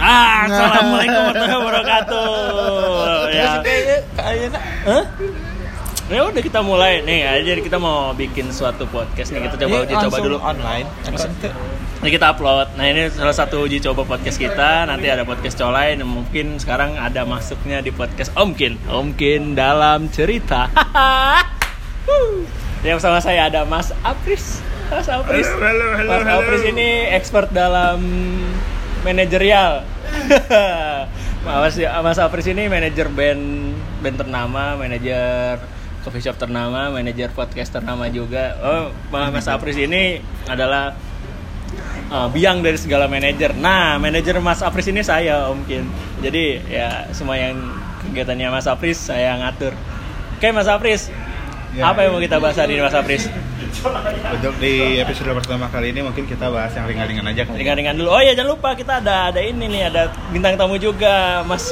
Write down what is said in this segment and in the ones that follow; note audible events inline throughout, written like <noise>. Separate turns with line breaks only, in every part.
Ah, <laughs> assalamualaikum warahmatullahi wabarakatuh. Ya,
kayaknya kayaknya
Hah? ya udah kita mulai nih. Ya. Jadi kita mau bikin suatu podcast nih. Kita Iya, coba uji coba dulu.
online
Langsung. Ini kita upload. Nah ini salah satu uji coba podcast kita. Nanti ada podcast colai dan mungkin sekarang ada masuknya di podcast Omkin. Omkin dalam cerita. <laughs> Wuh. Ya bersama saya ada Mas Apris. Mas Apris.
Halo, halo, halo,
Mas
halo.
Apris ini expert dalam
<laughs>
manajerial. Mas Mas Apris ini manajer band band ternama, manajer coffee shop ternama, manajer podcast ternama juga. Oh, Mas Apris ini adalah uh, biang dari segala manajer. Nah, manajer Mas Apris ini saya, Om Kin. Jadi ya semua yang kegiatannya Mas Apris saya ngatur. Oke, Mas Apris.
Ya.
apa yang mau kita bahas hari ini, Mas Apris?
untuk di episode pertama kali ini mungkin kita bahas yang ringan-ringan aja kali
Ringan-ringan dulu. Oh iya, jangan lupa kita ada ada ini nih, ada bintang tamu juga, Mas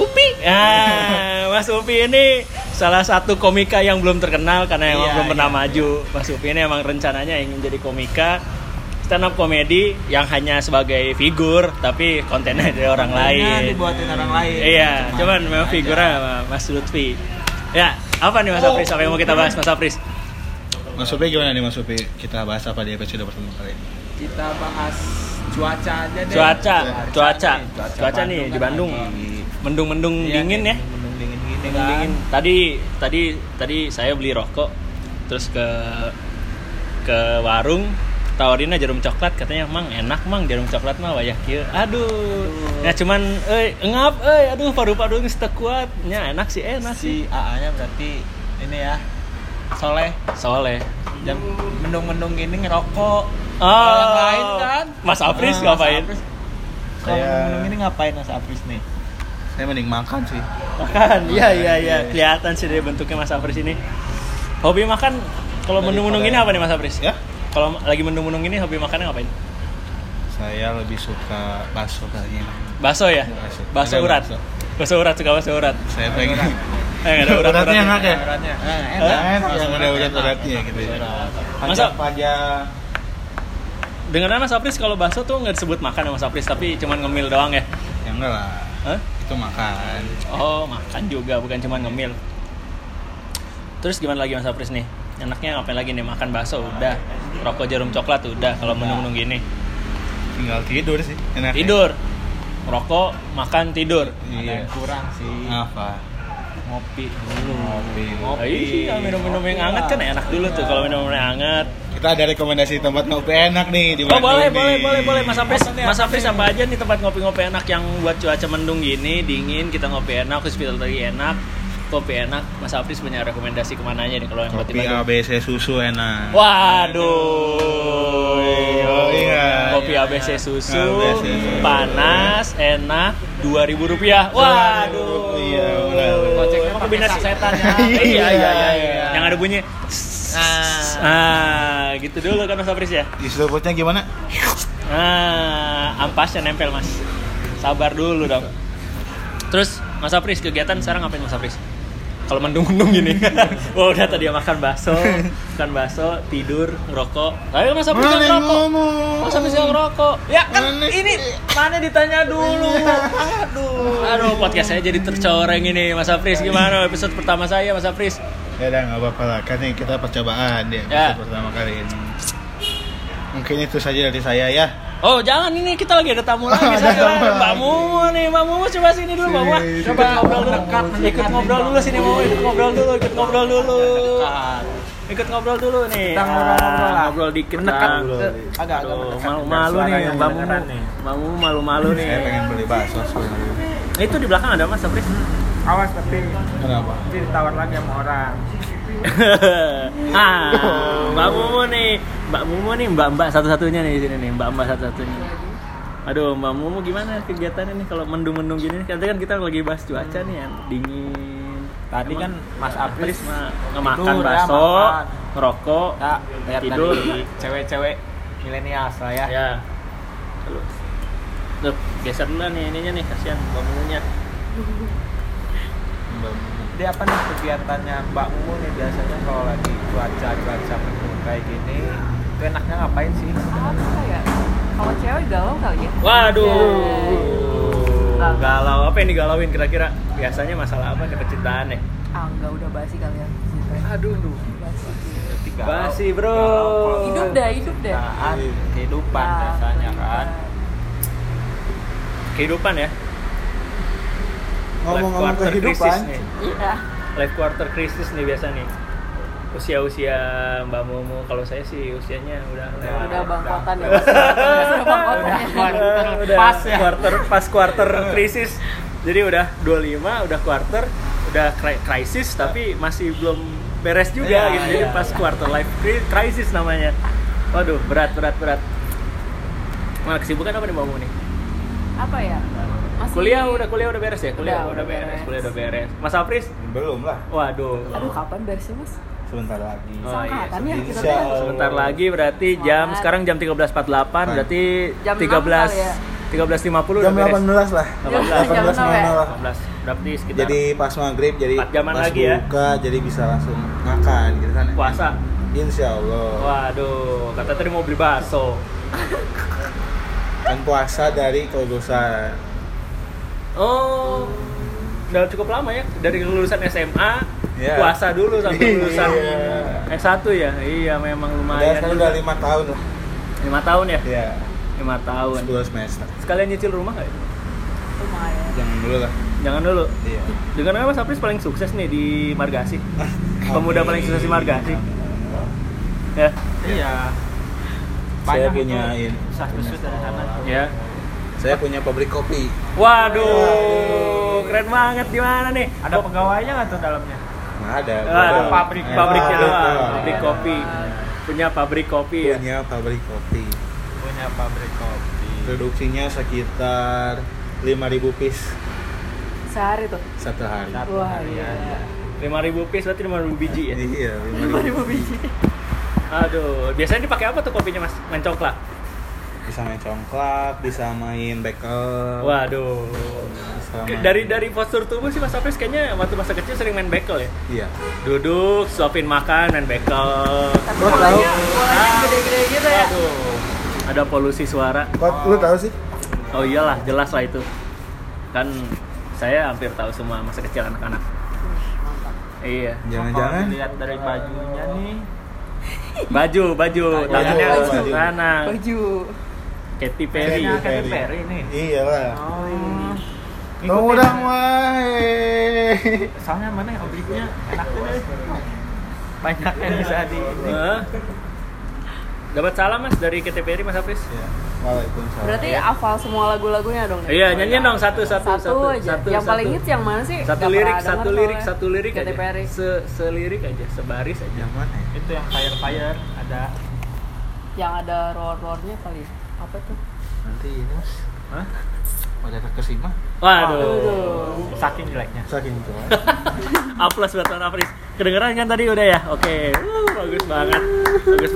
Upi. Ah, Mas Upi ini salah satu komika yang belum terkenal karena emang
Iya,
belum pernah
iya.
maju. Mas Upi ini emang rencananya ingin jadi komika stand up komedi yang hanya sebagai figur tapi kontennya dari orang lain.
dibuatin orang lain
Iya, cuman memang figurnya sama Mas Lutfi. Ya, apa nih Mas
Oh.
Apris? Apa yang mau kita bahas Mas Apris?
Mas Upi gimana nih Mas Upi kita bahas apa di episode pertama kali ini
kita bahas cuaca aja deh.
Cuaca, cuaca,
nih,
cuaca nih di
kan
Bandung.
lagi-
Mendung-mendung
Iya,
dingin ya.
nih, Mendung dingin gini kan.
Mendingin. Tadi tadi tadi saya beli rokok terus ke ke warung tawarinnya jarum coklat katanya mang enak mang jarum coklat mah wayah kieu. Aduh. Ya cuman eh ngap eh aduh paru-paru geus teu kuat. Nya enak sih enak
Si
sih.
AA-nya berarti ini ya. Soleh
Soleh.
jam mendung-mendung gini ngerokok.
Oh,
Kalau yang lain kan.
Mas Apris
Eh,
ngapain?
Mas Apris. Kalau
Saya-
mendung ini ngapain Mas Apris nih?
saya mending makan sih
Makan. Iya iya iya. Kelihatan sih dari bentuknya Mas Apris ini. Hobi makan kalau
Dari
mendung-mendung ini
Korea.
apa nih Mas Apris?
Ya?
Kalau lagi mendung-mendung ini hobi makannya ngapain?
saya lebih suka bakso kayaknya
Bakso ya?
Bakso.
Bakso
Ada
urat.
bakso.
Bakso urat suka bakso urat.
saya pengen
Eh
<laughs>
nggak ada urat
uratnya enak ya
Beratnya. Eh,
Hah?
enak.
enak
Mas
yang
Apris
ada urat
enak.
uratnya gitu ya
Berat.
Masa-
panjang
Dengarnya Mas Apris kalau bakso tuh nggak disebut makan ya Mas Apris tapi cuman ngemil doang ya.
ya enggak lah
Hah?
itu makan
Oh makan juga bukan cuman ngemil. Terus gimana lagi Mas Apris nih? Enaknya ngapain lagi nih makan bakso udah, rokok jarum coklat udah kalau menung-menung gini.
tinggal tidur sih enak ya?
Tidur. Rokok, makan, tidur.
Ada
iya Ah.
yang kurang sih.
apa
Ngopi dulu.
Ngopi.
Ngopi.
Iya, minum-minum yang hangat kan enak dulu tuh kalau minum-minum yang hangat.
Kita ada rekomendasi tempat ngopi enak nih di
Oh boleh,
Bandung nih.
boleh, boleh, boleh. Mas Apris,
Apa nih,
Mas
apa
Apris
nih?
apa aja nih tempat ngopi-ngopi enak yang buat cuaca mendung gini, dingin, kita ngopi enak, hospital tadi enak, kopi enak. Mas Apris punya rekomendasi kemana aja nih kalau yang buat di
Kopi
Bandung?
ABC susu enak.
Waduh.
Oh, iya,
Kopi
iya,
ABC
iya.
susu,
ABC.
panas, enak, dua ribu rupiah. Waduh.
Iya, benar.
Koceknya pakai
Kombinasi
sasetan ya.
iya, iya, iya,
iya.
Yang ada bunyi. Ah, gitu dulu kan Mas Apris ya.
Diseruputnya gimana?
Nah, ampasnya nempel mas. Sabar dulu dong. Terus Mas Apris kegiatan sekarang ngapain Mas Apris? Kalau mendung-mendung gini, <laughs> wah udah tadi makan bakso, makan bakso, tidur, ngerokok. Ayo Mas Apris yang
Mana
ngerokok.
ngomong?
Mas Apris yang ngerokok. Ya kan
Mana-
ini mana ditanya
<laughs>
dulu. Aduh, aduh podcast saya jadi tercoreng ini Mas Apris gimana episode pertama saya Mas Apris?
Ya udah nggak apa-apa lah, kan ini kita percobaan ya,
Ya.
episode pertama kali ini. Mungkin itu saja dari saya ya.
Oh jangan ini kita lagi ada tamu lagi
<laughs> Ada
saya Mbak
tamu lagi.
Mumu nih Mbak Mumu coba sini dulu Mbak Mumu
Sini.
Coba ngobrol dulu
Mendekat, mendekat
Ikut
nih,
ngobrol
Mbak
dulu sini Mumu Ikut ngobrol dulu Ikut ngobrol dulu
Dekat.
Ikut ngobrol dulu nih
Kita ngobrol-ngobrol
Ah,
lah.
Ngobrol dikit
Menekan
lah
dulu. Agak agak
Aduh,
menekan.
Malu-malu nih
Biar suaranya
Mbak
kedengeran
Mumu
nih.
Mbak Mumu malu-malu nih
Saya pengen beli bakso sebenarnya.
Itu di belakang ada mas Sapris
Awas tapi
Kenapa?
nanti ditawar lagi sama orang.
<laughs> ah, Mbak Mumu nih, Mbak Mumu nih, Mbak Mbak satu-satunya nih di sini nih, Mbak Mbak satu-satunya. Aduh, Mbak Mumu gimana kegiatannya nih kalau mendung-mendung gini? Tadi kan kita lagi bahas cuaca nih, yang dingin.
Tadi
Emang
kan Mas Apris
mah ngemakan
tidur ya,
bakso,
makan.
ngerokok,
kita lihat
tidur.
tadi cewek-cewek milenial lah ya.
Ya. Lalu, tuh geser dulu nih ininya nih, kasihan Mbak Mumunya.
Dia apa nih kegiatannya Mbak Mumu nih biasanya kalau lagi cuaca cuaca mendung kayak gini itu enaknya ngapain sih?
apa ya Kalau cewek galau kali ya?
Waduh.
Ya.
Galau apa yang digalauin kira-kira? Biasanya masalah apa kecintaan ya?
Ah, enggak udah basi kali ya.
Aduh.
Basi.
Basi, Bro.
Hidup dah, hidup dah.
Nah,
Kecintaan, kehidupan
Ah,
biasanya kan.
Kehidupan ya.
Ngomong-ngomong
Life quarter
kehidupan,
crisis nih.
Iya.
Life quarter crisis nih biasa nih. Usia-usia Mbak Momo kalau saya sih usianya <laughs> udah lewat.
Udah bangkotan ya. Udah bangkotan
Udah,
ya.
udah.
Ah, <laughs> udah
Pas ya.
quarter pas
<laughs>
quarter krisis jadi udah 25 udah quarter udah kri- krisis tapi masih belum beres juga
Iya,
gitu jadi
iya,
pas
iya.
quarter life cri- crisis namanya waduh berat berat berat Nah, kesibukan apa nih Mbak Mumu nih?
Apa ya? Masih-
Kuliah udah kuliah udah beres ya? Kuliah
Udah,
udah,
udah
beres.
beres.
kuliah udah beres. Mas Apris?
Belum lah,
Waduh.
Aduh, kapan beresnya, Mas?
sebentar lagi.
Oh, iya,
Sangkatan ya kita
Insya
tuh.
Allah.
Sebentar lagi berarti jam
Semangat.
sekarang jam 13.48 berarti
Jam
13
enam kali ya?
13.50 udah
Jam
beres.
18 lah.
Jam
18.
18.
18.00.
Berarti sekitar
Jadi pas maghrib, jadi
Empat jaman
pas
lagi ya.
buka, jadi bisa langsung makan gitu kan.
puasa.
Insya Allah.
Waduh, kata tadi mau beli bakso.
Dan puasa dari Kogosan.
Oh, udah cukup lama ya dari lulusan SMA
Iya.
puasa dulu sampai lulusan
Iya.
S1 ya. Iya, memang
Udah
lumayan.
sekarang udah lima tahun lah.
5 tahun ya?
Iya.
5 tahun.
10 semester.
Sekalian nyicil rumah nggak ya?
Lumayan.
Jangan dulu lah.
Jangan dulu.
Iya.
Dengan apa Mas Apris paling sukses nih di Margasi? Pemuda paling sukses di Margasi. Ya.
Iya. Banyak
Saya punya
itu.
ini.
Satu sud dari sana.
Ya.
Saya punya pabrik kopi.
Waduh, keren banget di mana nih?
Ada pegawainya nggak tuh dalamnya?
Nggak Nah,
Ah,
ada.
Waduh,
pabrik. Iya.
pabriknya
Pabrik
doang,
doang.
pabrik kopi. Punya pabrik kopi ya.
Punya pabrik kopi.
Punya pabrik kopi.
Produksinya sekitar 5.000 piece
Sehari tuh.
satu hari.
Satu
Wah,
harian.
iya.
5000 piece berarti 5000 biji ya.
Iya,
2000
5.000
biji.
Aduh, biasanya dipakai apa tuh kopinya Mas? Main coklat.
Bisa main congklak, bisa main bekel.
Waduh.
Bisa
Ke-
main-
Dari dari postur tubuh sih Mas Apris kayaknya waktu masa kecil sering main bekel ya.
Iya.
Duduk, suapin makan, main bekel.
Tapi
Gua tahu.
bolanya, bolanya gede-gede gitu ya.
Aduh. Ada polusi suara.
Kok lu tahu sih?
Oh iyalah, jelas lah itu. Kan saya hampir tahu semua masa kecil anak-anak. Iya.
Jangan-jangan
Kalau dilihat dari bajunya nih,
Baju, baju, tangannya
baju.
ke sana.
Baju.
Katy Perry.
Kayaknya Katy Perry nih.
Iya lah.
Oh,
Tunggu dong, wah.
Soalnya mana yang obriknya enak tuh deh. Banyak yang bisa di ini.
Hah? Dapat salam Mas dari Katy Perry Mas Apris.
Ya, Waalaikumsalam.
Berarti hafal semua lagu-lagunya dong ya?
Iya, nyanyiin dong satu satu
satu, aja. yang paling hits yang mana sih?
satu
Nggak
lirik,
pernah
satu
denger
lirik,
soalnya.
satu lirik
Katy
aja.
Perry.
Se selirik aja, sebaris aja.
yang mana? ya?
Itu yang fire fire ada
Yang ada roar-roarnya kali. ya. Apa tuh?
Nanti ini mas,
Hah?
pada terkesima.
Waduh.
saking jeleknya.
Saking tua.
Aplaus buat Tuan Apris. Kedengeran kan tadi udah ya? Oke. Wuh, bagus Uh, banget. Bagus